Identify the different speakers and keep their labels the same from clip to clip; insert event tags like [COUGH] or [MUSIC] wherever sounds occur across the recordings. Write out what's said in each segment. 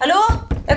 Speaker 1: Hallo? Jeg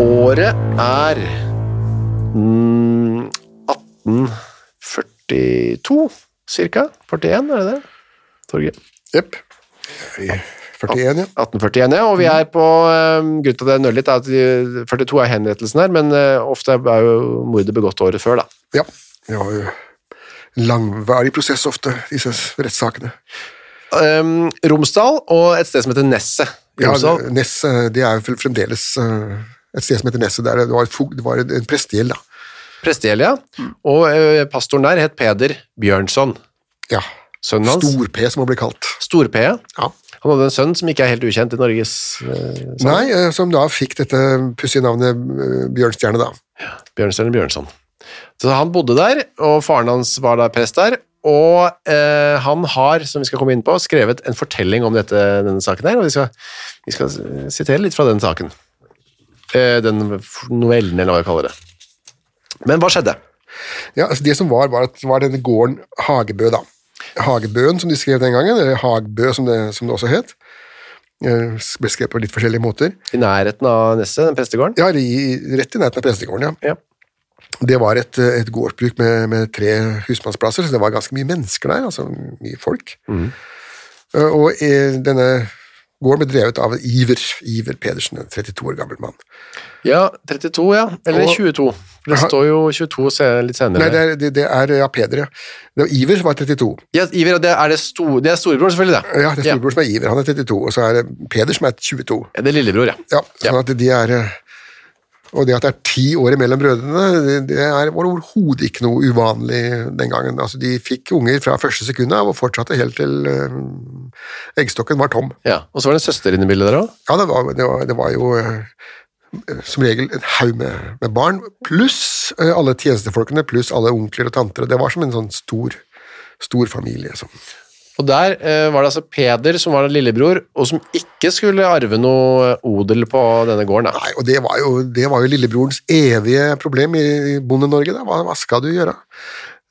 Speaker 2: Året er mm, 1842, cirka. 41, er det det? Torgeir.
Speaker 3: Jepp. 41, ja.
Speaker 2: 1841, ja. Og vi er på eh, Grunnen til at jeg nøler litt, er at de- 42 er henrettelsen her, men eh, ofte er jo mordet begått året før, da.
Speaker 3: Ja. Vi har jo langvarig prosess ofte, disse rettssakene.
Speaker 2: Ehm, Romsdal og et sted som heter Nesset. i
Speaker 3: Ja,
Speaker 2: Romsdal.
Speaker 3: Ness, eh, det er vel fremdeles eh, et sted som heter Nesset. Der det var, fog- det var en en prestegjeld, da.
Speaker 2: Prestegjeld, ja.
Speaker 3: Mm.
Speaker 2: Og eh, pastoren der het Peder Bjørnson.
Speaker 3: Ja.
Speaker 2: Sønnen hans.
Speaker 3: Stor-P, som han ble kalt.
Speaker 2: Stor-P.
Speaker 3: Ja.
Speaker 2: Han hadde en sønn som ikke er helt ukjent i Norges eh, sang.
Speaker 3: Nei, eh, som da fikk dette pussige navnet eh, Bjørnstjerne, da.
Speaker 2: Bjørnstjerne Bjørnson. Så han bodde der, og faren hans var da prest der, og eh, han har, som vi skal komme inn på, skrevet en fortelling om dette, denne saken her, og vi skal, vi skal sitere litt fra den saken. Eh, den novellen, eller hva jeg kaller det. Men hva skjedde?
Speaker 3: Ja, altså det som var, var at det var denne gården Hagebø, da. Hagebøen, som de skrev den gangen, eller Hagbø, som det, som det også het. Eh, Ble skrevet på litt forskjellige måter.
Speaker 2: I nærheten av Nesset, den prestegården?
Speaker 3: Ja, i, i- rett i nærheten av prestegården, ja.
Speaker 2: Ja.
Speaker 3: Det var et, eh, et gårdsbruk med, med tre husmannsplasser, så det var ganske mye mennesker der, altså mye folk. Eh, Og eh, denne gården ble drevet av Iver, Iver Pedersen, en 32 år gammel mann.
Speaker 2: Ja, 32, ja. Eller
Speaker 3: Og-
Speaker 2: 22. Det står jo 22 se- litt senere.
Speaker 3: Nei, det er, det, det er ja, Peder, ja. Det var Iver som var 32.
Speaker 2: Ja, Iver, og det er, det, sto, det er storebror, selvfølgelig. Det.
Speaker 3: Ja, det er storebror som er Iver, han er 32, og så er det Peder som er 22.
Speaker 2: Ja, det er lillebror, ja.
Speaker 3: Ja, sånn at de er eh, Og det at det er ti år mellom brødrene, det- det er, var overhodet ikke noe uvanlig den gangen. Altså, de fikk unger fra første sekund av og fortsatte helt til eh, eggstokken var tom.
Speaker 2: ja. Og så var det en søster inne i bildet der også.
Speaker 3: Ja, det var, det var, det var jo eh, som regel en haug med, med barn, pluss eh, alle tjenestefolkene, pluss alle onkler og tanter. og Det var som en sånn stor, stor familie. Som,
Speaker 2: Og der eh, var det altså Peder som var lillebror, og som ikke skulle arve noe eh, odel på denne gården. Da.
Speaker 3: Nei, og det var jo, det var jo lillebrorens evige problem i i Bonde-Norge. da. Hva, hva skal du gjøre?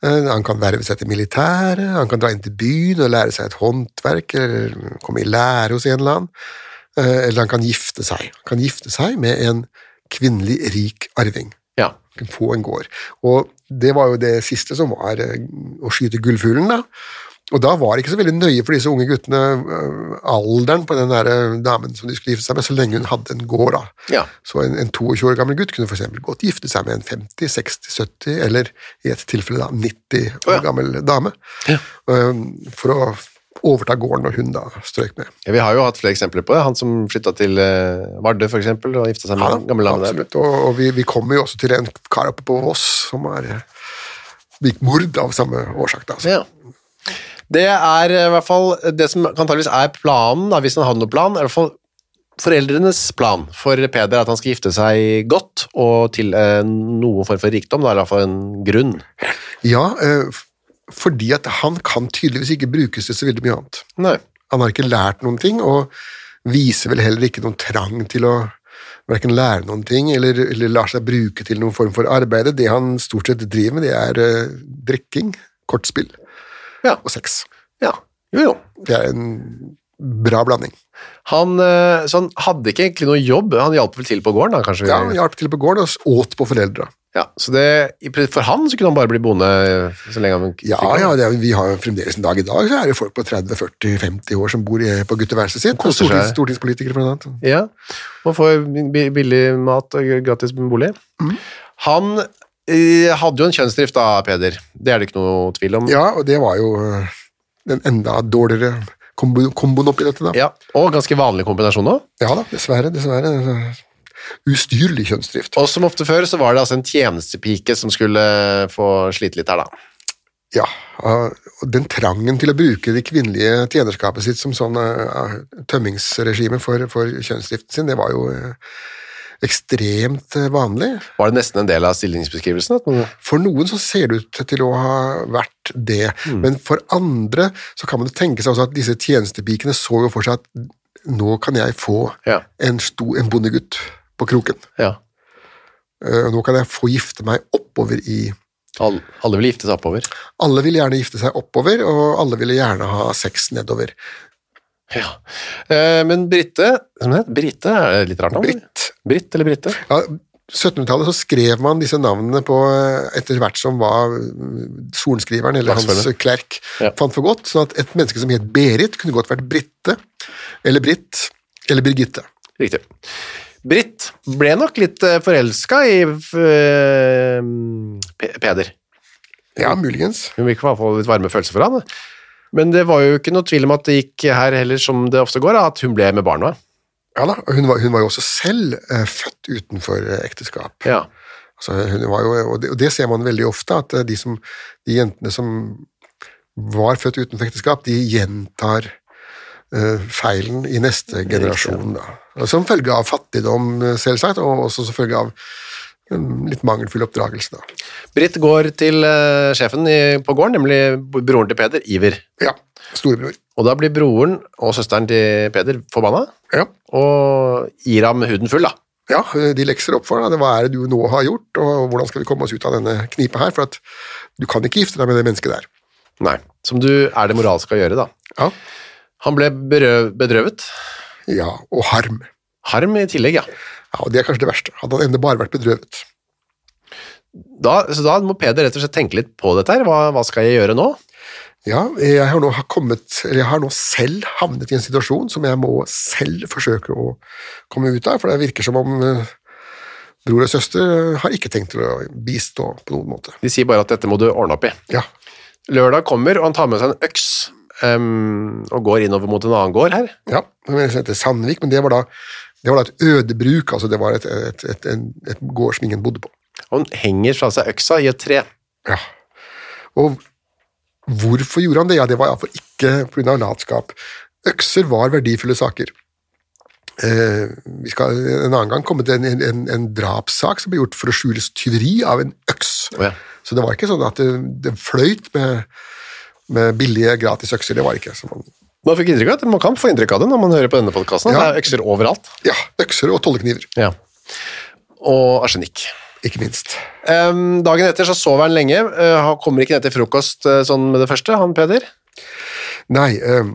Speaker 3: Eh, Han kan verve seg til militæret, han kan dra inn til byen og lære seg et håndverk, eller komme i lære hos en eller annen. Eh, Eller han kan gifte seg. Han kan gifte seg med en kvinnelig rik arving.
Speaker 2: Ja.
Speaker 3: Han kan Få en gård. Og det var jo det siste som var eh, å skyte gullfuglen, da. Og da var det ikke så veldig nøye for disse unge guttene eh, alderen på den der eh, damen som de skulle gifte seg med, så lenge hun hadde en gård, da.
Speaker 2: Ja.
Speaker 3: Så en, en 22 år gammel gutt kunne for eksempel godt gifte seg med en 50, 60, 70, eller i et tilfelle da 90 år
Speaker 2: ja.
Speaker 3: gammel dame, um, for å overta gården når hun da strøk med.
Speaker 2: Ja, Vi har jo hatt flere eksempler på det. Han som flytta til eh, Vardø, for eksempel, og gifta seg med den gamle damen der.
Speaker 3: absolutt. Og, og vi, vi kommer jo også til en kar oppe på Voss som er eh, begikk mord av samme årsak. da. altså.
Speaker 2: Ja. Det er eh, i hvert fall det som antageligvis er planen, da, hvis han hadde noen plan. er i hvert fall Foreldrenes plan for Peder er at han skal gifte seg godt og til eh, noen form for rikdom, da, eller i hvert fall en grunn.
Speaker 3: Ja, eh, f- fordi at han kan tydeligvis ikke brukes til så veldig mye annet.
Speaker 2: Nei.
Speaker 3: Han har ikke lært noen ting, og viser vel heller ikke noen trang til å hverken lære noen ting eller, eller lar seg bruke til noen form for arbeid. Det han stort sett driver med, det er eh, drikking, kortspill
Speaker 2: Ja.
Speaker 3: og sex.
Speaker 2: ja. Jo, jo.
Speaker 3: Det er en bra blanding.
Speaker 2: Han, eh, så han hadde ikke egentlig noe jobb, han hjalp vel til på gården da, kanskje?
Speaker 3: Ja, hjalp til på gården og åt på foreldra.
Speaker 2: Ja, så det, i prin- for han så kunne han bare bli bonde eh, så lenge han
Speaker 3: Ja, ja, det er, vi har jo fremdeles en dag i dag, så er det folk på 30-40-50 år som bor i, på gutteværelset sitt.
Speaker 2: koser
Speaker 3: Stortings,
Speaker 2: seg.
Speaker 3: stortingspolitikere, blant annet.
Speaker 2: Ja, man får bi- billig mat og gratis bolig.
Speaker 3: Mm.
Speaker 2: Han eh, hadde jo en kjønnsdrift da, Peder. Det er det ikke noe tvil om.
Speaker 3: Ja, og det var jo øh, den enda dårligere kombo- komboen oppi dette, da.
Speaker 2: Ja, og ganske vanlig kombinasjon nå.
Speaker 3: Ja da, dessverre, dessverre. Ustyrlig kjønnsdrift.
Speaker 2: Og som ofte før så var det altså en tjenestepike som skulle eh, få slite litt her da.
Speaker 3: Ja, og den trangen til å bruke det kvinnelige tjenerskapet sitt som sånn eh, tømmingsregime for, for kjønnsdriften sin, det var jo eh, ekstremt eh, vanlig.
Speaker 2: Var det nesten en del av stillingsbeskrivelsen? At man,
Speaker 3: For noen så ser det ut til å ha vært det, men for andre så kan man jo tenke seg også at disse tjenestepikene så jo for seg at nå kan jeg få
Speaker 2: Ja.
Speaker 3: en, sto, en bondegutt på kroken.
Speaker 2: ja.
Speaker 3: Eh, Nå kan jeg få gifte meg oppover i
Speaker 2: Alle, alle ville gifte seg oppover.
Speaker 3: Alle ville gjerne gifte seg oppover, og alle ville gjerne ha sex nedover.
Speaker 2: Ja. Eh, men Britte, som det heter, Britte er litt rart navn.
Speaker 3: Britt.
Speaker 2: Britt eller Britte?
Speaker 3: Ja, 1700-tallet så skrev man disse navnene på eh, etter hvert som var mm, sorenskriveren eller hans
Speaker 2: Dagsformen.
Speaker 3: klerk
Speaker 2: Ja.
Speaker 3: fant for godt, sånn at et menneske som het Berit kunne godt vært Britte, eller Britt, eller Birgitte.
Speaker 2: Riktig. Britt ble nok litt eh, forelska i eh, Pe- Peder.
Speaker 3: Ja, muligens.
Speaker 2: Hun fikk i hvert fall litt varme følelser for han. da. Men det var jo ikke noe tvil om at det gikk her heller, som det ofte går, da, at hun ble med barna.
Speaker 3: Ja da, og hun var, hun var jo også selv eh, født utenfor eh, ekteskap.
Speaker 2: Ja.
Speaker 3: Altså, hun var jo, og, det, og det ser man veldig ofte, at eh, de, som, de jentene som var født utenfor ekteskap, de gjentar eh, feilen i neste generasjon. Da. Og Som følge av fattigdom, eh, selvsagt, og også som følge av mm, litt mangelfull oppdragelse. Da.
Speaker 2: Britt går til eh, sjefen i, på gården, nemlig b- broren til Peder, Iver.
Speaker 3: Ja, storebror.
Speaker 2: Og da blir broren og søsteren til Peder forbanna
Speaker 3: Ja.
Speaker 2: og gir ham huden full, da.
Speaker 3: Ja, eh, de lekser opp for deg. det. Hva er det du nå har gjort, og hvordan skal vi komme oss ut av denne knipa her? For at du kan ikke gifte deg med det mennesket der.
Speaker 2: Nei. Som du er det moralske å gjøre, da.
Speaker 3: Ja,
Speaker 2: Han ble berø- bedrøvet.
Speaker 3: ja og harm.
Speaker 2: Harm i tillegg, ja.
Speaker 3: Ja, og Det er kanskje det verste. Hadde han ennå bare vært bedrøvet.
Speaker 2: Da, så da må Peder rett og slett tenke litt på dette her. Hva, hva skal jeg gjøre nå?
Speaker 3: Ja, jeg har nå, har kommet, eller jeg har nå selv havnet i en situasjon som jeg må selv forsøke å komme ut av, for det virker som om eh, bror og søster eh, har ikke tenkt til å bistå på noen måte.
Speaker 2: De sier bare at dette må du ordne opp i.
Speaker 3: Ja,
Speaker 2: Lørdag kommer, og han tar med seg en øks ehm, og går innover mot en annen gård her.
Speaker 3: ja det var en som heter Sandvik, men det var da, det var da et ødebruk, altså det var et, et, et, en- et gård som ingen bodde på.
Speaker 2: Og han henger fra seg øksa i et tre.
Speaker 3: Ja. Og hvorfor gjorde han det? Ja, det var iallfall ikke pga. latskap. Økser var verdifulle saker. Eh, vi skal en annen gang komme til en, en- en, en drapssak som ble gjort for å skjule tyveri av en øks.
Speaker 2: Å ja.
Speaker 3: Så det var ikke sånn at det, det fløyt med, med billige, gratis økser. Det var det ikke. sånn. Så man,
Speaker 2: Man, fikk inntrykk av det. man kan få inntrykk av det når man hører på denne podkasten.
Speaker 3: Ja.
Speaker 2: Det er økser overalt.
Speaker 3: ja, økser og tollekniver,
Speaker 2: Ja. Og arsenikk.
Speaker 3: ikke minst.
Speaker 2: Ehm, dagen etter så sover han lenge. eh, han kommer ikke ned til frokost eh, sånn med det første, han Peder.
Speaker 3: Nei, eh,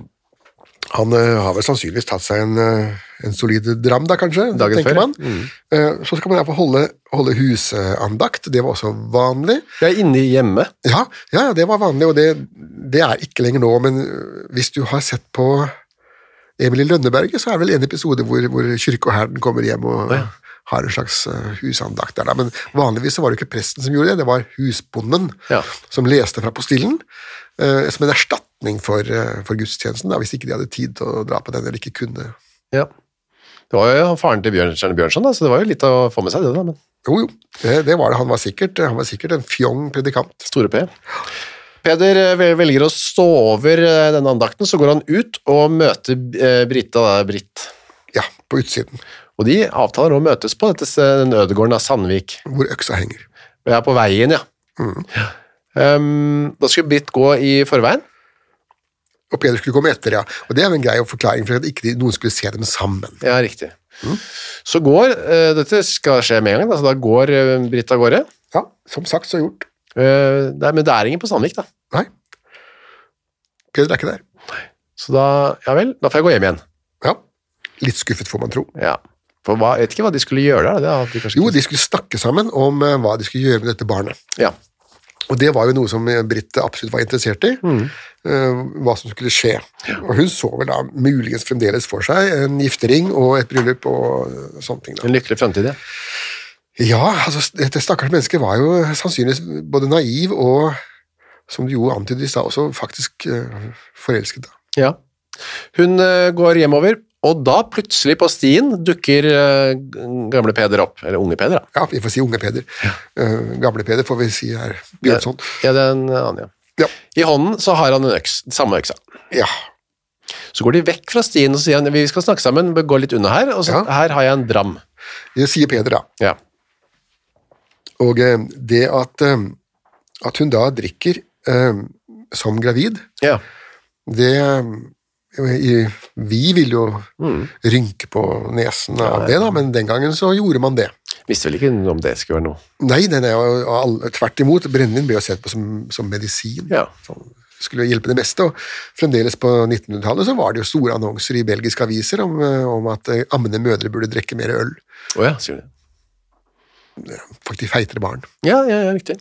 Speaker 3: han eh, har vel sannsynligvis tatt seg en, eh, en solid dram da, kanskje,
Speaker 2: Dagen
Speaker 3: tenker
Speaker 2: før. Mm.
Speaker 3: man. Eh, så skal man iallfall holde, holde husandakt, det var også vanlig.
Speaker 2: Vi er inne hjemme.
Speaker 3: Ja, ja, ja, det var vanlig, og det, det er ikke lenger nå, men eh, hvis du har sett på Emil i Lønneberget, så er det vel en episode hvor, hvor kyrke og herden kommer hjem og har en slags eh, husandakt der, da. Men vanligvis så var det ikke presten som gjorde det, det var husbonden
Speaker 2: Ja.
Speaker 3: som leste fra postillen, eh, som en erstatning for, eh, for gudstjenesten, da, hvis ikke de hadde tid til å dra på den, eller ikke kunne.
Speaker 2: Ja. Det var jo faren til Bjørnstjerne Bjørnson, da, så det var jo litt å få med seg, det. da, men...
Speaker 3: Jo, jo, det, det var det. Han var sikkert, eh, han var sikkert en fjong predikant.
Speaker 2: Store P. Peder eh, vel- velger å stå over eh, denne andakten, så går han ut og møter eh, Britta, da, Britt.
Speaker 3: Ja, på utsiden,
Speaker 2: Og de avtaler å møtes på dette, se- den ødegården av Sandvik.
Speaker 3: hvor øksa henger.
Speaker 2: Og jeg er på Mm. Ehm, veien, ja. Ja. Um, da skulle Britt gå i forveien.
Speaker 3: Og Peder skulle komme etter, ja. Og det er jo en grei forklaring for at ikke de- noen skulle se dem sammen.
Speaker 2: Ja, riktig. Så går eh, Dette skal skje med en gang, da, så da går eh, Britt av gårde.
Speaker 3: Ja, som sagt, så gjort.
Speaker 2: Eh, det er- men det er ingen på Sandvik, da.
Speaker 3: Nei. Peder er ikke der.
Speaker 2: Så da Ja vel, da får jeg gå hjem igjen.
Speaker 3: Ja. Litt skuffet, får man tro.
Speaker 2: Ja. For hva, jeg vet ikke hva de skulle gjøre der. Det hadde de kanskje
Speaker 3: Jo,
Speaker 2: ikke-
Speaker 3: de skulle snakke sammen om eh, hva de skulle gjøre med dette barnet.
Speaker 2: Ja.
Speaker 3: Og det var jo noe som eh, Britt absolutt var interessert i, eh, hva som skulle skje. Og hun så vel da muligens fremdeles for seg en giftering og et bryllup og eh, sånne ting. da.
Speaker 2: En lykkelig fremtid, ja.
Speaker 3: Ja, altså, dette stakkars mennesket var jo sannsynligvis både naiv og, som du jo antydet i stad, også faktisk eh, forelsket. da.
Speaker 2: ja. Hun eh, går hjemover, og da plutselig på stien dukker eh, g- gamle Peder opp. Eller unge Peder, da.
Speaker 3: Ja, vi får si unge Peder. Eh, gamle Peder får vi si er Bjørnson.
Speaker 2: Ja, det er en annen, ja.
Speaker 3: Ja.
Speaker 2: I hånden så har han en øks. Samme øksa.
Speaker 3: Ja.
Speaker 2: Så går de vekk fra stien og sier han, vi skal snakke sammen, vi går litt unna her, og så
Speaker 3: Ja.
Speaker 2: her har jeg en dram.
Speaker 3: Det sier Peder, da.
Speaker 2: Ja.
Speaker 3: Og eh, det at, eh, at hun da drikker eh, som gravid,
Speaker 2: Ja.
Speaker 3: det eh, i, Vi ville jo rynke på nesen av det, da, men den gangen så gjorde man det.
Speaker 2: Visste vel ikke om det skulle være noe.
Speaker 3: Nei, nei, nei og alle, tvert imot. Brennevin ble jo sett på som, som medisin.
Speaker 2: Ja.
Speaker 3: Sånn, skulle hjelpe det meste. Og fremdeles på 1900-tallet så var det jo store annonser i belgiske aviser om, eh, om at eh, ammende mødre burde drikke mer øl.
Speaker 2: Å ja, sier du det.
Speaker 3: Faktisk feitere barn.
Speaker 2: Ja, ja, ja, riktig.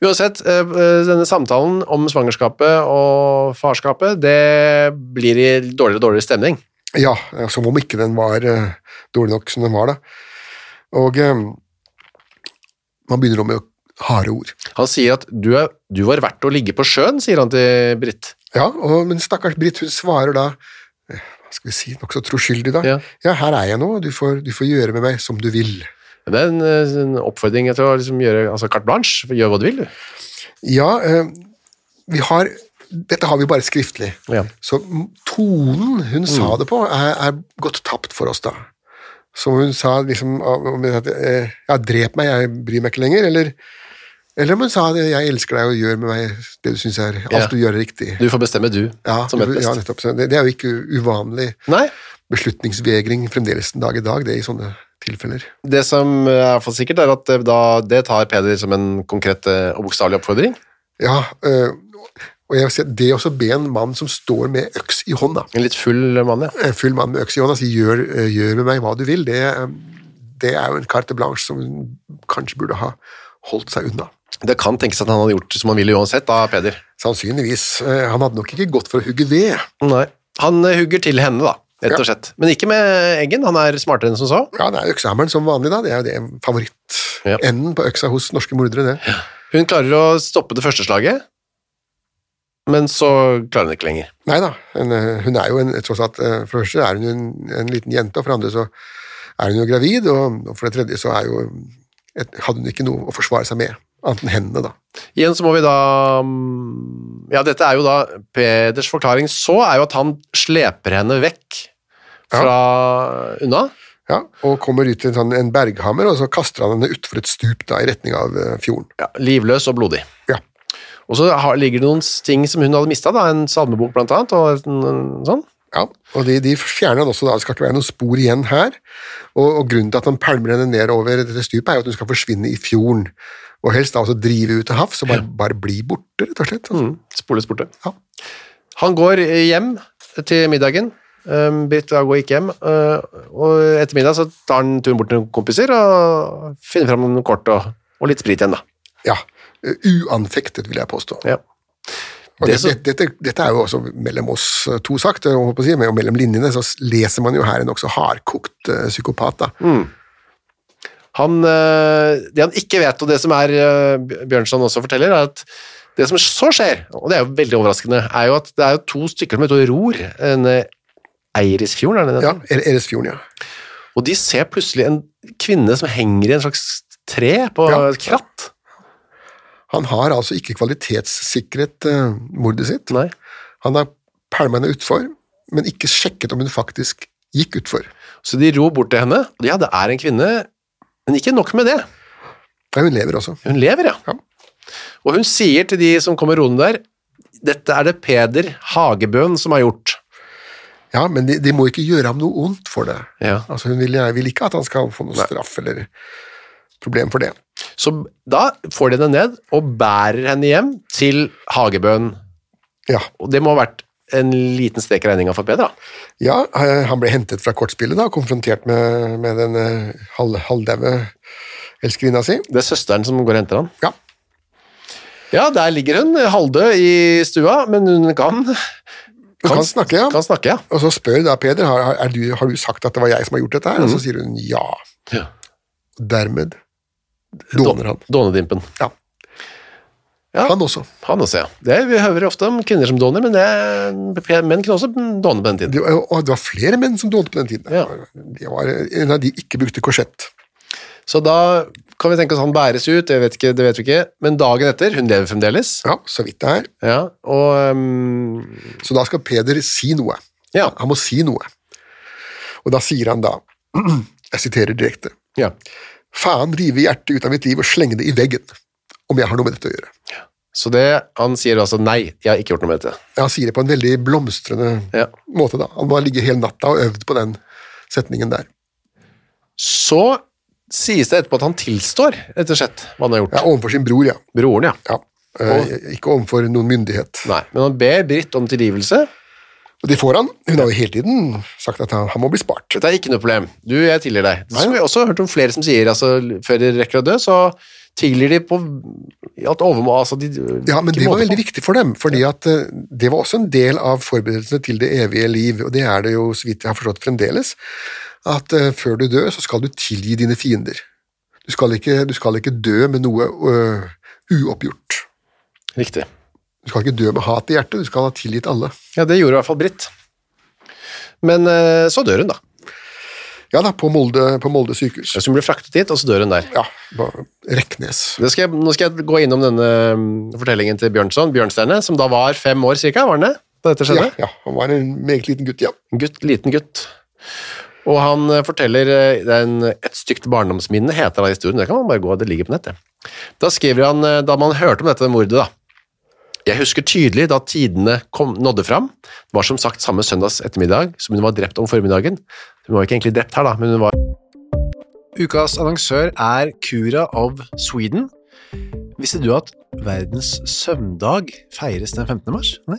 Speaker 2: Uansett, eh, denne samtalen om svangerskapet og farskapet, det blir i dårligere og dårligere stemning.
Speaker 3: Ja, eh, som om ikke den var eh, dårlig nok som den var, da. Og eh, man begynner nå med harde ord.
Speaker 2: Han sier at du, er, du var verdt å ligge på sjøen, sier han til Britt.
Speaker 3: Ja, og, men stakkars Britt, hun svarer da eh, hva skal vi si, nokså troskyldig, da.
Speaker 2: Ja.
Speaker 3: ja, her er jeg nå, og du får, du får gjøre med meg som du vil.
Speaker 2: Det er en, eh, en oppfordring til å liksom gjøre altså carte blanche, gjør hva du vil. du.
Speaker 3: Ja, eh, vi har Dette har vi bare skriftlig.
Speaker 2: Ja.
Speaker 3: Så m- tonen hun sa
Speaker 2: Mm.
Speaker 3: det på, er, er gått tapt for oss, da. Som hun sa liksom ah, om det at, eh, Ja, drep meg, jeg bryr meg ikke lenger. Eller, eller om hun sa det, jeg elsker deg og gjør med meg det du syns er Alt
Speaker 2: Ja.
Speaker 3: du gjør er riktig.
Speaker 2: Du får bestemme du,
Speaker 3: ja,
Speaker 2: som vet best.
Speaker 3: ja, nettopp. Så Det, det er jo ikke u- uvanlig
Speaker 2: Nei,
Speaker 3: beslutningsvegring fremdeles den dag i dag, det i sånne tilfeller.
Speaker 2: det som er i hvert fall sikkert er at eh, da, det tar Peder som en konkret eh, og bokstavelig oppfordring.
Speaker 3: Ja, eh, og jeg vil si at det å så be en mann som står med øks i hånda
Speaker 2: En litt full mann, ja.
Speaker 3: En full mann med øks i hånda og sier 'gjør, eh, gjør med meg hva du vil', det, eh, det er jo en carte blanche som hun kanskje burde ha holdt seg unna.
Speaker 2: Det kan tenkes at han hadde gjort som han ville uansett, da, Peder.
Speaker 3: Sannsynligvis. Eh, Han hadde nok ikke gått for å hugge ved.
Speaker 2: Nei. Han eh, hugger til henne, da, rett
Speaker 3: Ja.
Speaker 2: og slett. Men ikke med eggen, han er smartere enn som så.
Speaker 3: Ja, det er øksehammeren som vanlig, da. Det er jo det favoritt.
Speaker 2: Ja.
Speaker 3: Enden på øksa hos norske mordere, det.
Speaker 2: Hun klarer å stoppe det første slaget, men så klarer hun ikke lenger.
Speaker 3: Nei da. en, eh, Hun er jo en, tross alt eh, For det første er hun jo en, en liten jente, og for det andre så er hun jo gravid, og, og for det tredje så er jo et, hadde hun ikke noe å forsvare seg med, annet enn hendene, da.
Speaker 2: Igjen så må vi da mm, Ja, dette er jo da Peders forklaring så er jo at han sleper henne vekk fra unna.
Speaker 3: Ja, og kommer ut til en, sånn, en berghammer, og så kaster han henne utfor et stup da, i retning av eh, fjorden.
Speaker 2: Ja, livløs og blodig.
Speaker 3: Ja.
Speaker 2: Og så har, ligger det noen ting som hun hadde mista, en salmebok blant annet, og en, en sånn.
Speaker 3: Ja, og de, de fjerner han også da, det skal ikke være noen spor igjen her, og, og grunnen til at han palmer henne ned over dette stupet er jo at hun skal forsvinne i fjorden, og helst da også drive ut til havs, og bare, bare bli borte, rett og slett. Altså.
Speaker 2: Mm, spoles borte.
Speaker 3: Ja.
Speaker 2: Han går eh, hjem til middagen. Um, Britt da går ikke hjem. Uh, og etter middag så tar han turen bort til noen kompiser og finner fram noen kort og, og litt sprit igjen, da.
Speaker 3: Ja, eh, uanfektet vil jeg påstå.
Speaker 2: Ja.
Speaker 3: Og
Speaker 2: Det
Speaker 3: det,
Speaker 2: som-
Speaker 3: dette, dette er jo også mellom oss eh, to sagt, jeg holdt på å si, men mellom linjene så leser man jo her en også hardkokt eh, psykopat da.
Speaker 2: Mm. Han, eh, det han ikke vet, og det som er eh, Bj- Bjørnson også forteller, er at det som så skjer, og det er jo veldig overraskende, er jo at det er jo to stykker som heter Ror, en eh, Eirisfjorden, er det det?
Speaker 3: Ja, Er- Eresfjorden, ja.
Speaker 2: Og de ser plutselig en kvinne som henger i en slags tre på
Speaker 3: Ja.
Speaker 2: et kratt.
Speaker 3: Han har altså ikke kvalitetssikret eh, mordet sitt.
Speaker 2: Nei.
Speaker 3: Han har pælma henne utfor, men ikke sjekket om hun faktisk gikk utfor.
Speaker 2: Så de ror bort til henne, og ja, det er en kvinne, men ikke nok med det.
Speaker 3: Nei, hun lever også.
Speaker 2: Hun lever, ja.
Speaker 3: Ja.
Speaker 2: Og hun sier til de som kommer roende der, dette er det Peder Hagebøen som har gjort.
Speaker 3: Ja, men de, de må ikke gjøre ham noe ondt for det.
Speaker 2: Ja.
Speaker 3: Altså, hun vil, vil ikke at han skal få noe straff eller problem for det.
Speaker 2: Så da får de henne ned og bærer henne hjem til Hagebøen.
Speaker 3: Ja,
Speaker 2: Og det må ha vært en liten strek i regninga for Peder, da.
Speaker 3: ja eh, han ble hentet fra kortspillet da, og konfrontert med, med den eh, halv, halvdaue elskerinna si.
Speaker 2: Det er søsteren som går og henter han.
Speaker 3: Ja,
Speaker 2: Ja, der ligger hun, halvdød i stua, men hun kan
Speaker 3: hun kan, snakke, ja.
Speaker 2: Kan snakke, ja.
Speaker 3: Og så spør da Peder, har, har- er du, har du sagt at det var jeg som har gjort dette her? Og så sier hun ja.
Speaker 2: Ja.
Speaker 3: Dermed dåner han.
Speaker 2: Dånedimpen.
Speaker 3: Ja.
Speaker 2: Ja.
Speaker 3: Han også.
Speaker 2: Han også, ja. Det, vi hører ofte om kvinner som dåner, men det, menn kunne også dåne på den tiden.
Speaker 3: Det, var- og det var flere menn som dånte på den tiden.
Speaker 2: Ja.
Speaker 3: Det var, en av de ikke brukte korsett.
Speaker 2: Så da kan vi tenke oss han bæres ut, det vet, ikke, det vet vi ikke. Men dagen etter, hun lever fremdeles.
Speaker 3: Ja, så vidt det er.
Speaker 2: Ja, og um,
Speaker 3: Så da skal Peder si noe.
Speaker 2: Ja.
Speaker 3: Han må si noe. Og da sier han da, [CLEARS THROAT] jeg siterer direkte,
Speaker 2: ja.
Speaker 3: faen rive hjertet ut av mitt liv og slenge det i veggen, om jeg har noe med dette å gjøre.
Speaker 2: Så det, han sier altså nei, jeg har ikke gjort noe med dette.
Speaker 3: Han sier det på en veldig blomstrende
Speaker 2: Ja.
Speaker 3: måte da. Han må ha ligget hele natta og øvd på den setningen der.
Speaker 2: Så sies det etterpå at han tilstår, rett og slett, hva han har gjort.
Speaker 3: Ja, overfor sin bror, ja.
Speaker 2: Broren, ja.
Speaker 3: ja. Eh, ikke overfor noen myndighet.
Speaker 2: Nei, men han ber Britt om tilgivelse.
Speaker 3: Og det får han. Hun har jo hele tiden sagt at han, han må bli spart.
Speaker 2: Dette er ikke noe problem. Du, jeg tilgir deg. Det har vi også hørt om flere som sier, altså, før de rekker å dø, så tilgir de på i alt overmål. Altså, de,
Speaker 3: Ja, men
Speaker 2: ikke
Speaker 3: det var
Speaker 2: måte
Speaker 3: veldig
Speaker 2: på.
Speaker 3: viktig for dem, fordi at eh, det var også en del av forberedelsene til det evige liv, og det er det jo, så vidt jeg har forstått fremdeles, at eh, før du dør, så skal du tilgi dine fiender. Du skal ikke, du skal ikke dø med noe øh, uoppgjort.
Speaker 2: Riktig.
Speaker 3: Du skal ikke dø med hat i hjertet, du skal ha tilgitt alle.
Speaker 2: Ja, det gjorde i hvert fall Britt. Men eh, så dør hun, da.
Speaker 3: Ja da, på Molde, på Molde sykehus.
Speaker 2: Så hun blir fraktet dit, og så dør hun der.
Speaker 3: Ja, ba- Reknes.
Speaker 2: Det skal jeg, nå skal jeg gå innom denne mm, fortellingen til Bjørnson, Bjørnstjerne, som da var fem år cirka, var han det? Da dette
Speaker 3: Ja,
Speaker 2: skjedde?
Speaker 3: ja, han var en meget liten gutt, ja.
Speaker 2: En gutt, liten gutt. Og han eh, forteller eh, det er en, et stygt barndomsminne, heter da historien. Det kan man bare gå, det ligger på nettet. Da skriver han, eh, da man hørte om dette mordet da, jeg husker tydelig da tidene kom, nådde fram. Det var som sagt samme søndags ettermiddag som hun var drept om formiddagen. Hun var ikke egentlig drept her da, men hun var... Ukas annonsør er Cura of Sweden. Visste du at verdens søvndag feires den 15. mars? Nei.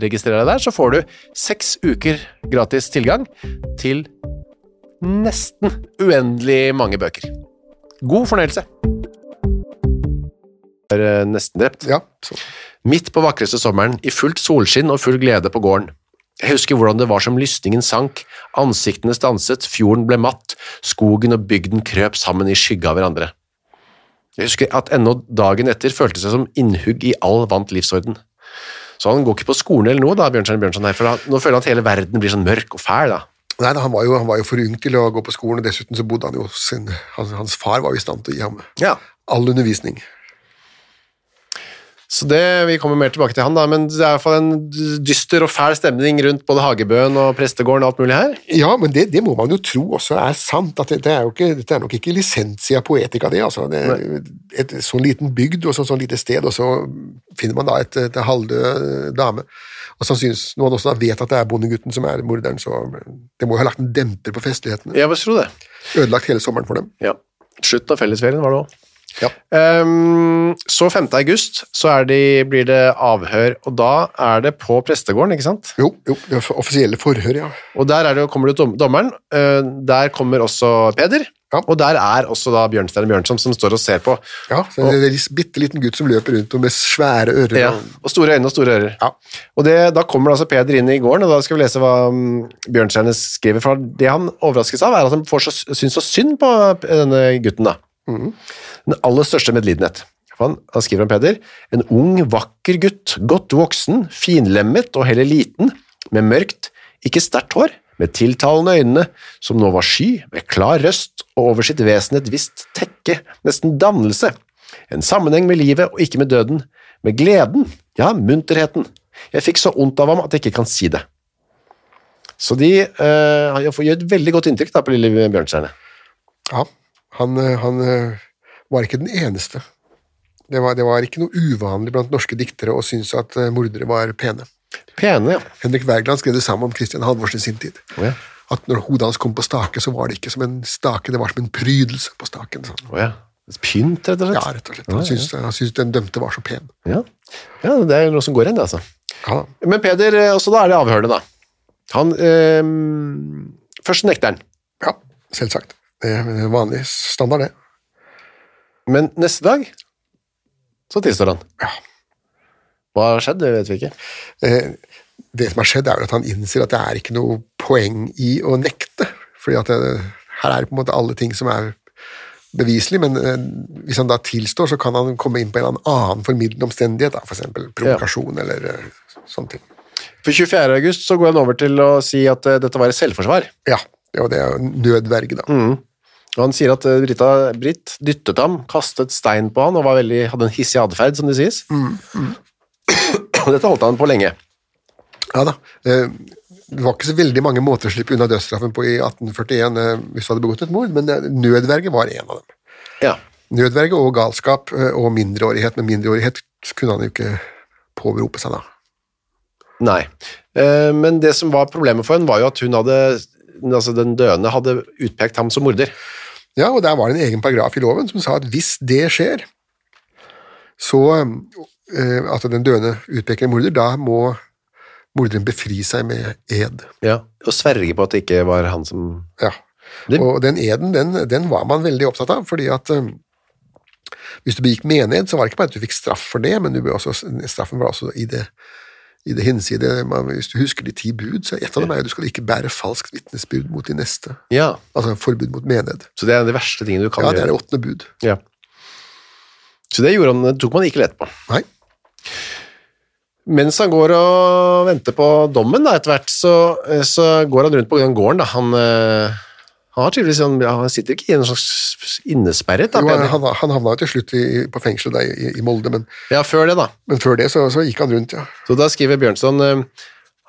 Speaker 2: Registrer deg der, så får du seks uker gratis tilgang til nesten uendelig mange bøker. God fornøyelse! Er eh, nesten drept.
Speaker 3: Ja, så.
Speaker 2: Midt på vakreste sommeren, i fullt solskinn og full glede på gården. Jeg husker hvordan det var som lysningen sank, ansiktene stanset, fjorden ble matt, skogen og bygden krøp sammen i skygge av hverandre. Jeg husker at ennå dagen etter følte seg som innhugg i all vant livsorden. Så han går ikke på skolen eller noe, da, Bjørnstjerne Bjørnson her, for han, nå føler han at hele verden blir sånn mørk og fæl, da.
Speaker 3: Nei, da, han, var jo, han var jo for ung til å gå på skolen, og dessuten så bodde han jo hos sin Hans, hans far var jo i stand til å gi ham
Speaker 2: Ja.
Speaker 3: all undervisning.
Speaker 2: Så det, Vi kommer mer tilbake til han, da, men det er i hvert fall en dyster og fæl stemning rundt både Hagebøen og prestegården og alt mulig her.
Speaker 3: Ja, men det, det må man jo tro også er sant. at Dette er, jo ikke, dette er nok ikke lisensia poetica, det. altså. Det, et sånn liten bygd og så, sånn lite sted, og så finner man da et, et halvdød eh, dame. Og sannsynligvis når man også da vet at det er bondegutten som er morderen, så det må jo ha lagt en demper på festlighetene.
Speaker 2: Jeg vil tro det.
Speaker 3: Ødelagt hele sommeren for dem.
Speaker 2: Ja. Slutten av fellesferien var det òg.
Speaker 3: Ja.
Speaker 2: så 5. august så er de, blir det avhør, og da er det på prestegården, ikke sant?
Speaker 3: Jo, jo, det er offisielle forhør, ja.
Speaker 2: Og der er det, jo- kommer det jo dom, dommeren, eh, der kommer også Peder,
Speaker 3: Ja.
Speaker 2: og der er også da Bjørnstein Bjørnson som står og ser på.
Speaker 3: ja så det er en bitte liten gutt som løper rundt og med svære ører.
Speaker 2: Ja,
Speaker 3: og-
Speaker 2: og store øyne og store ører.
Speaker 3: Ja.
Speaker 2: Og det, da kommer altså Peder inn i gården, og da skal vi lese hva um, Bjørnstjerne skriver. For det han overraskes av, er at han får så, syns så synd på eh, denne gutten. da. Den aller største medlidenhet. For Han, han skriver om Peder. En ung, vakker gutt, godt voksen, finlemmet og heller liten, med mørkt, ikke sterkt hår, med tiltalende øynene, som nå var sky, med klar røst og over sitt vesen et visst tekke, nesten dannelse. En sammenheng med livet og ikke med døden. Med gleden, ja, munterheten. Jeg fikk så ondt av ham at jeg ikke kan si det. Så de eh, han gjør et veldig godt inntrykk da, på lille Bjørnstjerne.
Speaker 3: Ja, han, eh, han eh, var ikke den eneste. Det var, det var ikke noe uvanlig blant norske diktere å synes at eh, mordere var pene.
Speaker 2: Pene, ja.
Speaker 3: Henrik Wergeland skrev det samme om Christian Halvorsen i sin tid.
Speaker 2: Å ja.
Speaker 3: At når hodet hans kom på stake, så var det ikke som en stake, det var som en prydelse på staken. Sånn.
Speaker 2: Å, ja. Pynt, rett og slett.
Speaker 3: Ja, rett og slett. Han syntes, han syntes den dømte var så pen.
Speaker 2: Ja. ja, det er jo noe som går igjen, det, altså.
Speaker 3: Ja, da.
Speaker 2: Men Peder, eh, også da er det avhørende, da. Han eh, Først nekter han,
Speaker 3: ja selvsagt. Det er vanlig standard, det.
Speaker 2: men neste dag så tilstår han. Ja. Hva har skjedd, det vet vi ikke.
Speaker 3: Eh, det som har skjedd, er jo at han innser at det er ikke noe poeng i å nekte. Fordi at det, her er det på en måte alle ting som er beviselig, men eh, hvis han da tilstår, så kan han komme inn på en eller annen annen formidlende omstendighet, da, for eksempel provokasjon eller eh, sånne ting.
Speaker 2: For 24. august så går han over til å si at eh, dette var et selvforsvar.
Speaker 3: Ja, ja, det er jo nødverge, da.
Speaker 2: Og han sier at eh, Brita, Britt dyttet ham, kastet stein på han og var veldig, hadde en hissig atferd, som det sies. Og dette holdt han på lenge.
Speaker 3: Ja da. Eh, Det var ikke så veldig mange måter å slippe unna dødsstraffen på i 1841 eh, hvis du hadde begått et mord, men eh, nødverge var en av dem.
Speaker 2: Ja.
Speaker 3: Nødverge og galskap eh, og mindreårighet, men mindreårighet kunne han jo ikke påberope seg da.
Speaker 2: Nei. Eh, Men det som var problemet for henne, var jo at hun hadde altså den døende hadde utpekt ham som morder.
Speaker 3: Ja, og der var det en egen paragraf i loven som sa at hvis det skjer, så eh, at den døende utpeker en morder, da må morderen befri seg med ed.
Speaker 2: Ja. Og sverge på at det ikke var han som
Speaker 3: Ja.
Speaker 2: Det-
Speaker 3: Og den eden, den, den var man veldig opptatt av, fordi at eh, hvis du begikk mened, så var det ikke bare at du fikk straff for det, men du ble også, straffen var også i det, i det hinside. Man, hvis du husker de ti bud, så et av dem er jo du skal ikke bære falskt vitnesbyrd mot de neste.
Speaker 2: Ja.
Speaker 3: Altså forbud mot mened.
Speaker 2: Så det er de verste tingene du kan
Speaker 3: Ja, det er
Speaker 2: gjøre.
Speaker 3: det åttende bud.
Speaker 2: Ja. Så det gjorde han, det tok man ikke lett på.
Speaker 3: Nei.
Speaker 2: Mens han går og venter på dommen da, etter hvert, så, eh, så går han rundt på den gården. Da. Han, eh, han, har tydeligvis, sånn- ja, han sitter ikke i en slags innesperret. Da,
Speaker 3: Jo,
Speaker 2: Peder.
Speaker 3: han, han havna jo til slutt i, på fengselet der i, i Molde, men,
Speaker 2: Ja, før det da.
Speaker 3: men før det så, så gikk han rundt, ja.
Speaker 2: Så da skriver Bjørnson, eh,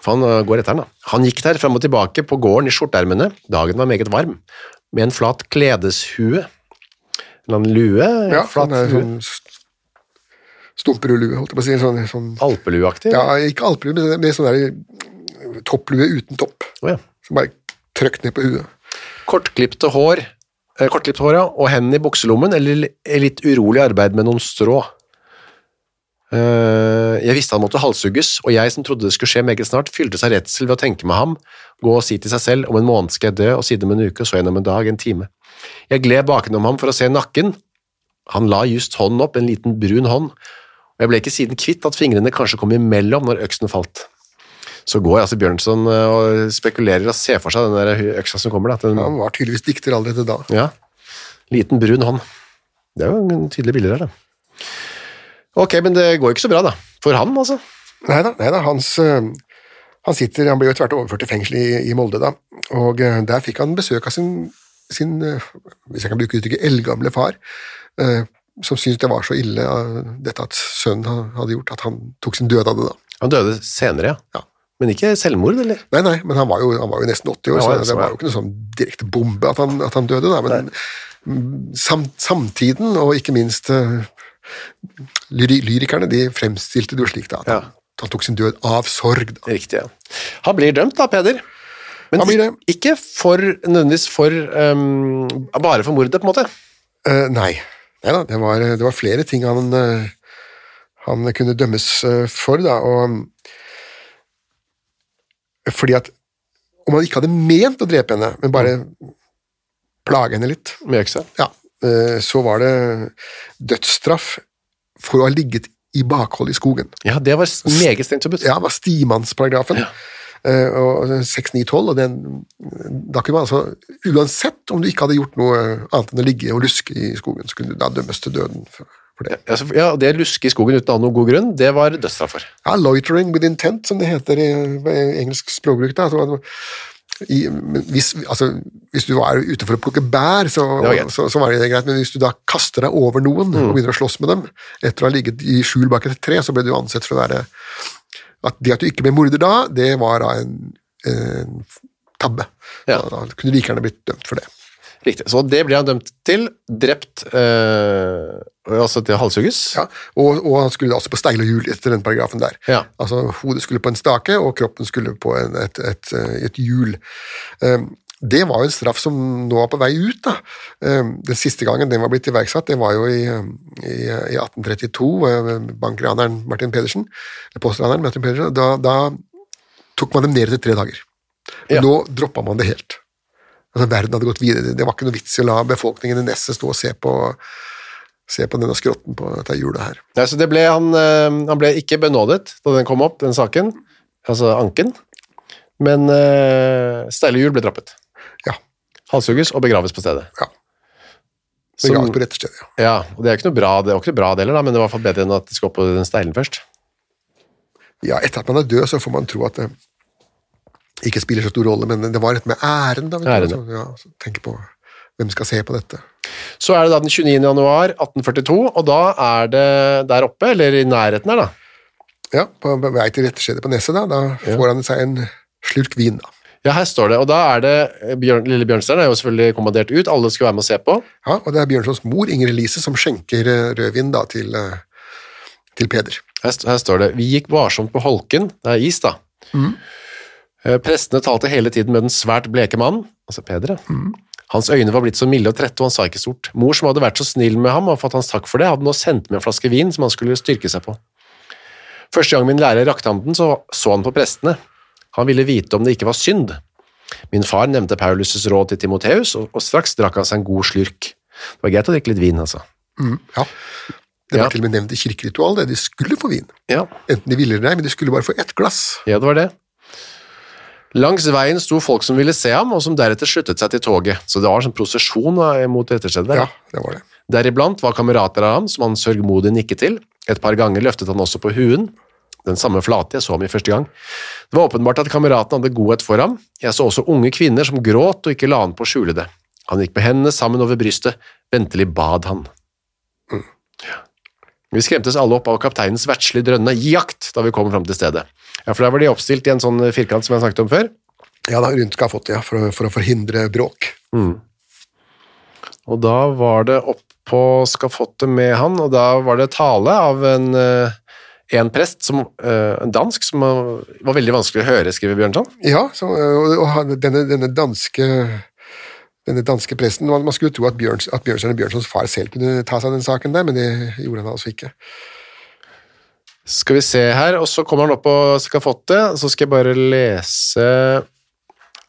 Speaker 2: for han eh, går etter han da. Han gikk der frem og tilbake på gården i skjortermene. Dagen var meget varm, med en flat kledeshue. En eller annen lue, en
Speaker 3: ja
Speaker 2: flat
Speaker 3: han er
Speaker 2: hue.
Speaker 3: sånn s- Stumperulue, holdt jeg på å si. en Sånn, sånn,
Speaker 2: Alpelueaktig?
Speaker 3: ja, ikke alpelue, men det- det er sånn der eh, topplue uten topp.
Speaker 2: Å, ja.
Speaker 3: Som bare trøkt ned på huet.
Speaker 2: Kortklipte hår, eh, kortklipt hår, ja, og hendene i bukselommen, eller li- litt urolig arbeid med noen strå. Eh, Jeg visste han måtte halshugges, og jeg som trodde det skulle skje meget snart, fylte seg redsel ved å tenke med ham, gå og si til seg selv, om en måned skal jeg dø, og siden om en uke, så gjennom en dag, en time. Jeg gled bakenom ham for å se nakken. Han la just hånden opp, en liten brun hånd, og jeg ble ikke siden kvitt at fingrene kanskje kom imellom når øksen falt. Så går altså Bjørnson eh, og spekulerer og ser for seg den der øksa som kommer, da, at den
Speaker 3: Han var tydeligvis dikter allerede da.
Speaker 2: ja. Liten brun hånd. Det er jo en tydelig bilder her, da. Ok, men det går jo ikke så bra, da. For han, altså.
Speaker 3: Nei da, hans eh, Han sitter, han ble jo etter hvert overført til fengsel i, i Molde, da, og eh, der fikk han besøk av sin, sin eh, hvis jeg kan bruke uttrykket, eldgamle far, eh, som syntes det var så ille eh, dette at sønnen ha- hadde gjort, at han tok sin død av det, da.
Speaker 2: Han døde senere, ja.
Speaker 3: Ja.
Speaker 2: Men ikke selvmord, eller?
Speaker 3: Nei, nei, men han var jo, han var jo nesten 80 år,
Speaker 2: Ja,
Speaker 3: så
Speaker 2: det
Speaker 3: det
Speaker 2: var
Speaker 3: var jo ikke noe sånn direkte bombe at han, at han døde, da, men mm, sam, samtiden, og ikke minst eh, lyri, lyrikerne, de fremstilte det jo slik, da, at
Speaker 2: Ja.
Speaker 3: han, han tok sin død av sorg, da.
Speaker 2: Riktig, ja. Han blir dømt, da, Peder. Men
Speaker 3: Han blir det.
Speaker 2: ikke for, nødvendigvis for um, Bare for mordet, på en måte.
Speaker 3: Eh, nei. Neida, det var, det var flere ting han, eh, han kunne dømmes eh, for, da, og Fordi at om han ikke hadde ment å drepe henne, men bare
Speaker 2: Mm.
Speaker 3: plage henne litt,
Speaker 2: Med øksa.
Speaker 3: ja, eh, så var det dødsstraff for å ha ligget i bakhold i skogen.
Speaker 2: Ja, det var s- meget strengt forbudt.
Speaker 3: Ja, det var stimannsparagrafen. eh, og 6912, og den, da kunne man altså Uansett om du ikke hadde gjort noe annet enn å ligge og luske i skogen, så kunne du da dømmes til døden for, for det.
Speaker 2: Ja, så- ja, det å luske i skogen uten å ha noen god grunn, det var dødsstraff for.
Speaker 3: Ja, loitering with intent, som det heter i, i engelsk språkbruk. Da. Altså, i, men hvis, altså, hvis du er ute for å plukke bær, så,
Speaker 2: Det var greit.
Speaker 3: så, så var det greit, men hvis du da kaster deg over noen og begynner å slåss med dem, etter å ha ligget i skjul bak et tre, så ble du ansett for å være At det at du ikke ble morder da, det var da en, en tabbe.
Speaker 2: Ja.
Speaker 3: Da, da kunne du like gjerne blitt dømt for det.
Speaker 2: Riktig. Så det ble han dømt til. Drept eh, Altså til å halshugges.
Speaker 3: Ja, og, og han skulle da også på steil og hjul etter den paragrafen der.
Speaker 2: Ja.
Speaker 3: Altså hodet skulle på en stake, og kroppen skulle på en, et, et, eh, et hjul. Ehm, Det var jo en straff som nå var på vei ut. da. Ehm, Den siste gangen den var blitt iverksatt, det var jo i, ehm, i, eh, i 1832. eh, Bankraneren Martin Pedersen, eller postraneren Martin Pedersen, da, da tok man dem ned etter tre dager. Men
Speaker 2: Ja.
Speaker 3: Nå droppa man det helt. Altså, verden hadde gått videre. Det var ikke noe vits i å la befolkningen i Nesset stå og se på, se på denne skrotten på dette hjulet her.
Speaker 2: Nei, så det ble han, eh, han ble ikke benådet da den kom opp, den saken, altså anken, men eh, steile hjul ble droppet.
Speaker 3: Ja.
Speaker 2: Halshugges og begraves på stedet.
Speaker 3: Ja.
Speaker 2: Som-
Speaker 3: Begravet på rette stedet. ja.
Speaker 2: ja, og det er ikke noe bra, det var ikke noe bra deler da, men det var i hvert fall bedre enn at det skal opp på den steilen først.
Speaker 3: Ja, etter at man er død, så får man tro at det ikke spiller så stor rolle, men det var et med æren, da. vet du.
Speaker 2: Æren, ja.
Speaker 3: Altså, ja, så tenk på hvem skal se på dette.
Speaker 2: Så er det da den 29. januar 1842, og da er det der oppe, eller i nærheten her da.
Speaker 3: Ja, på vei til rettestedet på Nesset, da, da får han seg en slurk vin, da.
Speaker 2: Ja, her står det, og da er det, Bjørn, Lille Bjørnstein er jo selvfølgelig kommandert ut, alle skal være med og se på.
Speaker 3: Ja, og det er Bjørnsons mor, Inger Elise, som skjenker eh, rødvin da til, eh, til Peder.
Speaker 2: Her, st- her står det Vi gikk varsomt på holken. Det er is, da. Eh, Prestene talte hele tiden med den svært bleke mannen, altså Peder. ja. Hans øyne var blitt så milde og trette, og han sa ikke stort. Mor, som hadde vært så snill med ham og fått hans takk for det, hadde nå sendt med en flaske vin som han skulle styrke seg på. Første gang min lærer rakte ham den, så så han på prestene. Han ville vite om det ikke var synd. Min far nevnte Paulus' råd til Timoteus, og, og straks drakk han seg en god slurk. Det var greit å drikke litt vin, altså.
Speaker 3: Ja. Det var
Speaker 2: Ja.
Speaker 3: til og med nevnt i kirkeritual, det. De skulle få vin.
Speaker 2: Ja,
Speaker 3: Enten de ville eller nei, men de skulle bare få ett glass.
Speaker 2: Ja, det var det. Langs veien sto folk som ville se ham, og som deretter sluttet seg til toget. Så det var en sånn prosesjon da, mot retterstedet der.
Speaker 3: Ja, det var det.
Speaker 2: Deriblant var kamerater av ham, som han sørgmodig nikket til. Et par ganger løftet han også på huen, den samme flate jeg så ham i første gang. Det var åpenbart at kameratene hadde godhet for ham. Jeg så også unge kvinner som gråt og ikke la an på å skjule det. Han gikk med hendene sammen over brystet, ventelig bad han. Mm. Ja. Vi skremtes alle opp av kapteinens verdslige drønne jakt da vi kom fram til stedet. Ja, for der var de oppstilt i en sånn firkant som jeg snakket om før.
Speaker 3: Ja, da rundt skal ha fått det, ja, for, å- for å forhindre bråk.
Speaker 2: Og da var det opp på skafottet med han, og da var det tale av en, eh, en prest, som, eh, en dansk, som eh, var veldig vanskelig å høre, skriver Bjørnson.
Speaker 3: Ja, så, og, og han- denne, denne danske denne danske presten, Man man skulle tro at, Bjørns, at Bjørnstjerne Bjørnsons far selv kunne ta seg av den saken der, men det gjorde han altså ikke.
Speaker 2: Skal vi se her, og så kommer han opp på skafottet, så skal jeg bare lese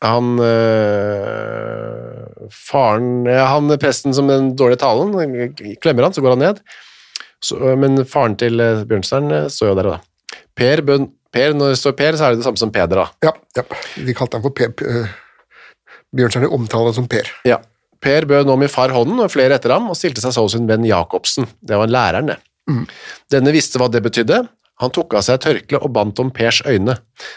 Speaker 2: han eh, faren, ja, han presten som den dårlige talen, klemmer han, så går han ned. Så, men faren til eh, Bjørnstjern eh, står jo der, da. Per, bønn, per, når det står Per, så er det det samme som Peder, da.
Speaker 3: Ja, ja. De kalte han for Per. eh, Bjørnstjerne omtaler han som Per.
Speaker 2: Ja. Per bød nå min far hånden og flere etter ham, og stilte seg så hos sin venn Jacobsen. Det var læreren, det. Denne visste hva det betydde. Han tok av seg tørkleet og bandt om Pers øyne.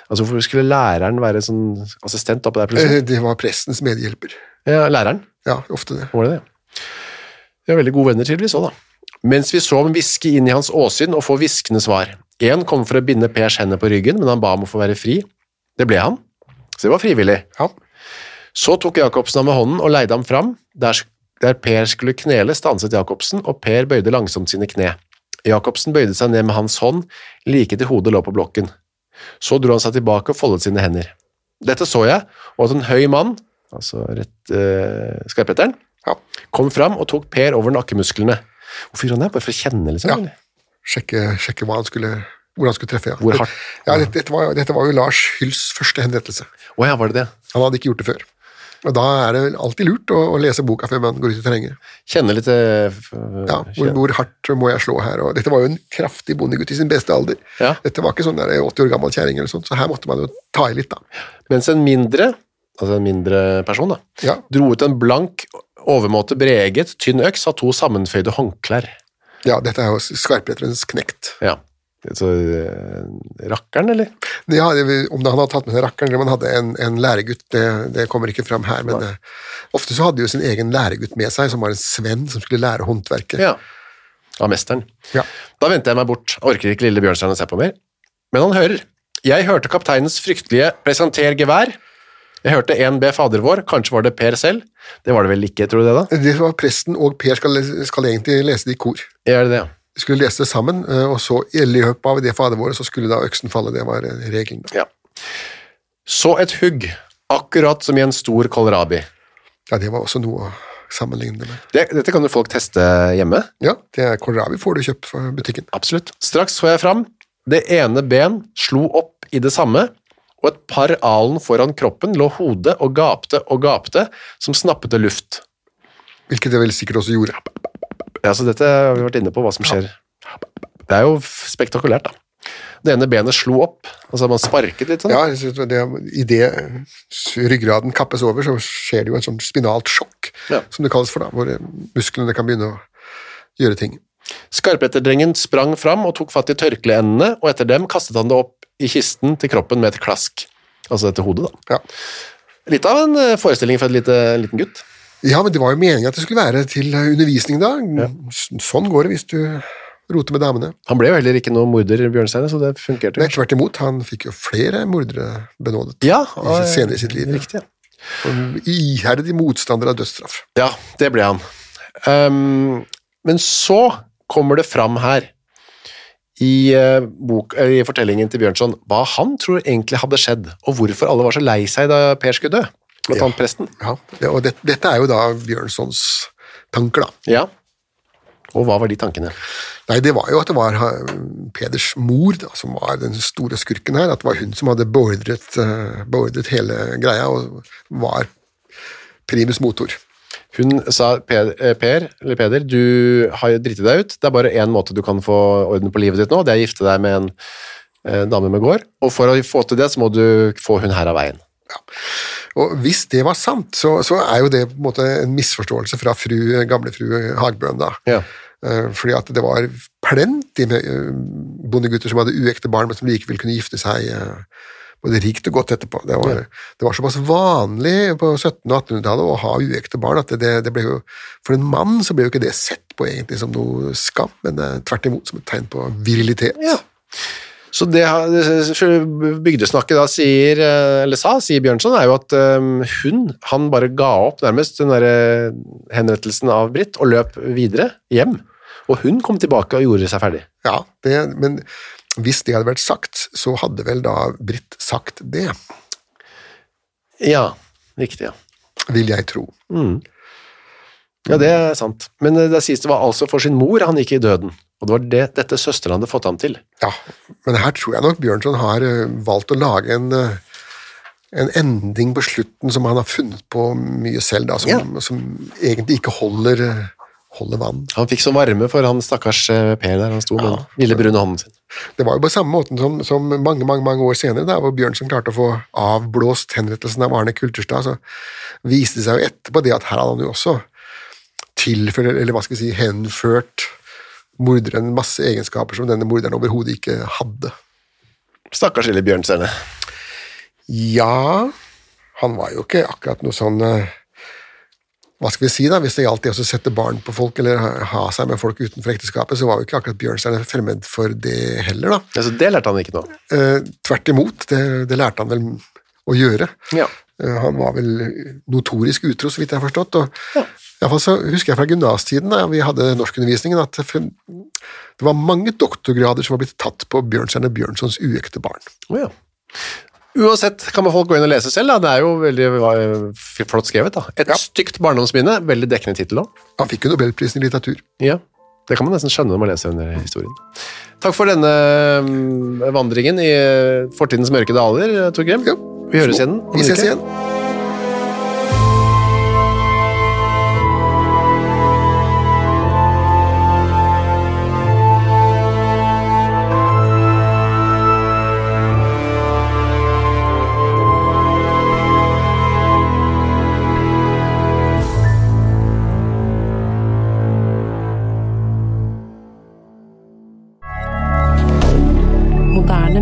Speaker 2: Altså, Hvorfor skulle læreren være sånn assistent oppe der plutselig?
Speaker 3: Eh, Det var prestens medhjelper.
Speaker 2: Ja, læreren
Speaker 3: Ja, ofte det.
Speaker 2: var det det. De var veldig gode venner tydeligvis òg, da. Mens vi så ham hviske inn i hans åsyn og få hviskende svar. Én kom for å binde Pers hender på ryggen, men han ba om å få være fri. Det ble han, så det var frivillig.
Speaker 3: Ja.
Speaker 2: Så tok Jacobsen ham med hånden og leide ham fram. Der, der Per skulle knele, stanset Jacobsen, og Per bøyde langsomt sine kne. Jacobsen bøyde seg ned med hans hånd, like til hodet lå på blokken. Så dro han seg tilbake og foldet sine hender. Dette så jeg, og at en høy mann, altså rett eh, skarpretteren,
Speaker 3: Ja.
Speaker 2: kom fram og tok Per over nakkemusklene. Hvorfor gjorde han det? Bare for å kjenne, liksom?
Speaker 3: Ja.
Speaker 2: eller?
Speaker 3: Sjekke, sjekke hva han skulle, hvor han skulle treffe. Ja.
Speaker 2: Hvor hardt?
Speaker 3: Ja, dette, dette, var, dette var jo Lars Hylls første henrettelse.
Speaker 2: Å ja, var det det?
Speaker 3: Han hadde ikke gjort det før. Og Da er det vel alltid lurt å, å lese boka før man går ut i terrenget.
Speaker 2: Kjenne litt eh, f-
Speaker 3: Ja, hvor,
Speaker 2: kjenne.
Speaker 3: hvor hardt må jeg slå her? Og dette var jo en kraftig bondegutt i sin beste alder.
Speaker 2: Ja.
Speaker 3: Dette var ikke sånn der 80 år gammel kjerring, eller sånt, så her måtte man jo ta i litt, da.
Speaker 2: Mens en mindre, altså en mindre person, da,
Speaker 3: Ja.
Speaker 2: dro ut en blank, overmåte breget, tynn øks av to sammenføyde håndklær.
Speaker 3: Ja, dette er jo skarpretterens knekt.
Speaker 2: Ja. Så, eh, rakkeren, eller?
Speaker 3: Ja, det- om det han hadde tatt med seg rakkeren, eller om han hadde en, en læregutt, det, det kommer ikke fram her, men eh, ofte så hadde de jo sin egen læregutt med seg, som var en svenn som skulle lære håndverket.
Speaker 2: Ja. Av mesteren.
Speaker 3: Ja.
Speaker 2: Da vendte jeg meg bort. Orker ikke lille Bjørnstjerne å se på mer. Men han hører. Jeg hørte kapteinens fryktelige 'presenter gevær'. Jeg hørte en be Fader vår, kanskje var det Per selv. Det var det vel ikke, tror du det, da?
Speaker 3: Det var presten og Per skal, skal egentlig lese det i kor.
Speaker 2: Er det det? ja?
Speaker 3: De skulle lese det sammen, eh, og så i løpet av det fader våre, så skulle da øksen falle. Det var eh, regelen. da.
Speaker 2: Ja. Så et hugg, akkurat som i en stor kålrabi.
Speaker 3: Ja, det var også noe å sammenligne det med.
Speaker 2: Det, dette kan jo folk teste hjemme.
Speaker 3: Ja, det er kålrabi får du kjøpt fra butikken.
Speaker 2: Absolutt. Straks så jeg fram. Det ene ben slo opp i det samme, og et par alen foran kroppen lå hodet og gapte og gapte, som snappete luft.
Speaker 3: Hvilket jeg vel sikkert også gjorde.
Speaker 2: Ja, så dette har vi vært inne på, hva som skjer. Det er jo f- spektakulært, da. Det ene benet slo opp, altså man sparket litt sånn.
Speaker 3: Ja, jeg synes det, Idet ryggraden kappes over, så skjer det jo et sånt spinalt sjokk,
Speaker 2: Ja.
Speaker 3: som det kalles for, da, hvor eh, musklene kan begynne å gjøre ting.
Speaker 2: Skarpretterdrengen sprang fram og tok fatt i tørkleendene, og etter dem kastet han det opp i kisten til kroppen med et klask. Altså etter hodet, da.
Speaker 3: Ja.
Speaker 2: Litt av en eh, forestilling for en lite, liten gutt.
Speaker 3: ja, men det var jo meningen at det skulle være til eh, undervisning, da. S- Sånn går det hvis du roter med damene.
Speaker 2: Han ble jo heller ikke noe morder, Bjørnstein, så det funkerte. jo.
Speaker 3: Nei, tvert imot, han fikk jo flere mordere benådet.
Speaker 2: Ja,
Speaker 3: i sitt- senere i sitt liv.
Speaker 2: Riktig.
Speaker 3: Og Iherdig motstander av dødsstraff.
Speaker 2: Ja, det ble han. Ehm, men så kommer det fram her i, eh, bok, eller i fortellingen til Bjørnson hva han tror egentlig hadde skjedd, og hvorfor alle var så lei seg da Per skulle dø. Blant annet presten.
Speaker 3: Ja, det- og det, dette er jo da Bjørnsons tanker, da.
Speaker 2: Ja. Og hva var de tankene?
Speaker 3: Nei, det var jo at det var eh, Peders mor da, som var den store skurken her, at det var hun som hadde beordret, eh, beordret hele greia og var primus motor.
Speaker 2: Hun sa per, eh, per, eller Peder, du har jo driti deg ut. Det er bare én måte du kan få orden på livet ditt nå, det er å gifte deg med en eh, dame med gård. Og for å få til det, så må du få hun her av veien.
Speaker 3: Og hvis det var sant, så, så er jo det på en måte en misforståelse fra fru, gamle fru Hagbøen da.
Speaker 2: Ja.
Speaker 3: Eh, Fordi at det var plenty med eh, bondegutter som hadde uekte barn, men som likevel kunne gifte seg eh, både rikt og godt etterpå. Det var, det var såpass vanlig på 1700- og 1800-tallet å ha uekte barn at det, det ble jo For en mann så ble jo ikke det sett på egentlig som noe skam, men eh, tvert imot som et tegn på virilitet.
Speaker 2: Ja. Så det ha- bygdesnakket da sier, eh, eller sa, sier Bjørnson, er jo at eh, hun, han bare ga opp nærmest den der eh, henrettelsen av Britt, og løp videre hjem. Og hun kom tilbake og gjorde seg ferdig.
Speaker 3: Ja, det, men hvis det hadde vært sagt, så hadde vel da Britt sagt det,
Speaker 2: Ja, riktig, ja.
Speaker 3: vil jeg tro.
Speaker 2: Ja, det er sant. Men eh, det sies det var altså for sin mor han gikk i døden, og det var det dette søsteren hadde fått ham til.
Speaker 3: Ja, men her tror jeg nok Bjørnson har eh, valgt å lage en, eh, en ending på slutten som han har funnet på mye selv, da, som,
Speaker 2: Ja.
Speaker 3: som egentlig ikke holder, eh, holder vann.
Speaker 2: Han fikk så varme for han stakkars eh, Per der han sto med den lille brune hånden sin.
Speaker 3: Det var jo på samme måten som, som mange mange, mange år senere, da, hvor Bjørnson klarte å få avblåst henrettelsen av Arne Kulterstad, så viste det seg jo etterpå det at her hadde han jo også tilført, eller hva skal vi si, henført morderen masse egenskaper som denne morderen overhodet ikke hadde.
Speaker 2: Stakkars lille Bjørnstjerne.
Speaker 3: Ja, han var jo ikke akkurat noe sånn eh, Hva skal vi si, da? Hvis det gjaldt det å sette barn på folk, eller ha- ha seg med folk utenfor ekteskapet, så var jo ikke akkurat Bjørnstjerne fremmed for det heller, da.
Speaker 2: Altså, det lærte han ikke nå.
Speaker 3: Eh, Tvert imot, det, det lærte han vel å gjøre.
Speaker 2: Ja.
Speaker 3: Eh, Han var vel notorisk utro, så vidt jeg har forstått. og i hvert fall så husker jeg fra gymnastiden, da vi hadde norskundervisningen, at det fun- det var mange doktorgrader som var blitt tatt på Bjørnstjerne Bjørnsons uekte barn.
Speaker 2: Å, ja. Uansett kan man folk gå inn og lese selv. Da. Det er jo veldig eh, f- flott skrevet. Da. Et stygt barndomsminne. Veldig dekkende tittel òg.
Speaker 3: Han fikk jo Nobelprisen i litteratur.
Speaker 2: Ja. Det kan man nesten skjønne når man leser denne historien. Takk for denne mm, vandringen i eh, fortidens mørke daler, Torgrim.
Speaker 3: Ja.
Speaker 2: Vi høres igjen. om en
Speaker 3: Vi ses
Speaker 2: uke.
Speaker 3: igjen.
Speaker 4: Moderne